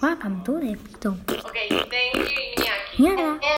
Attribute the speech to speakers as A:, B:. A: papá, pam tú de pito.
B: Okay, thank you, Iñaki.
A: Mierda.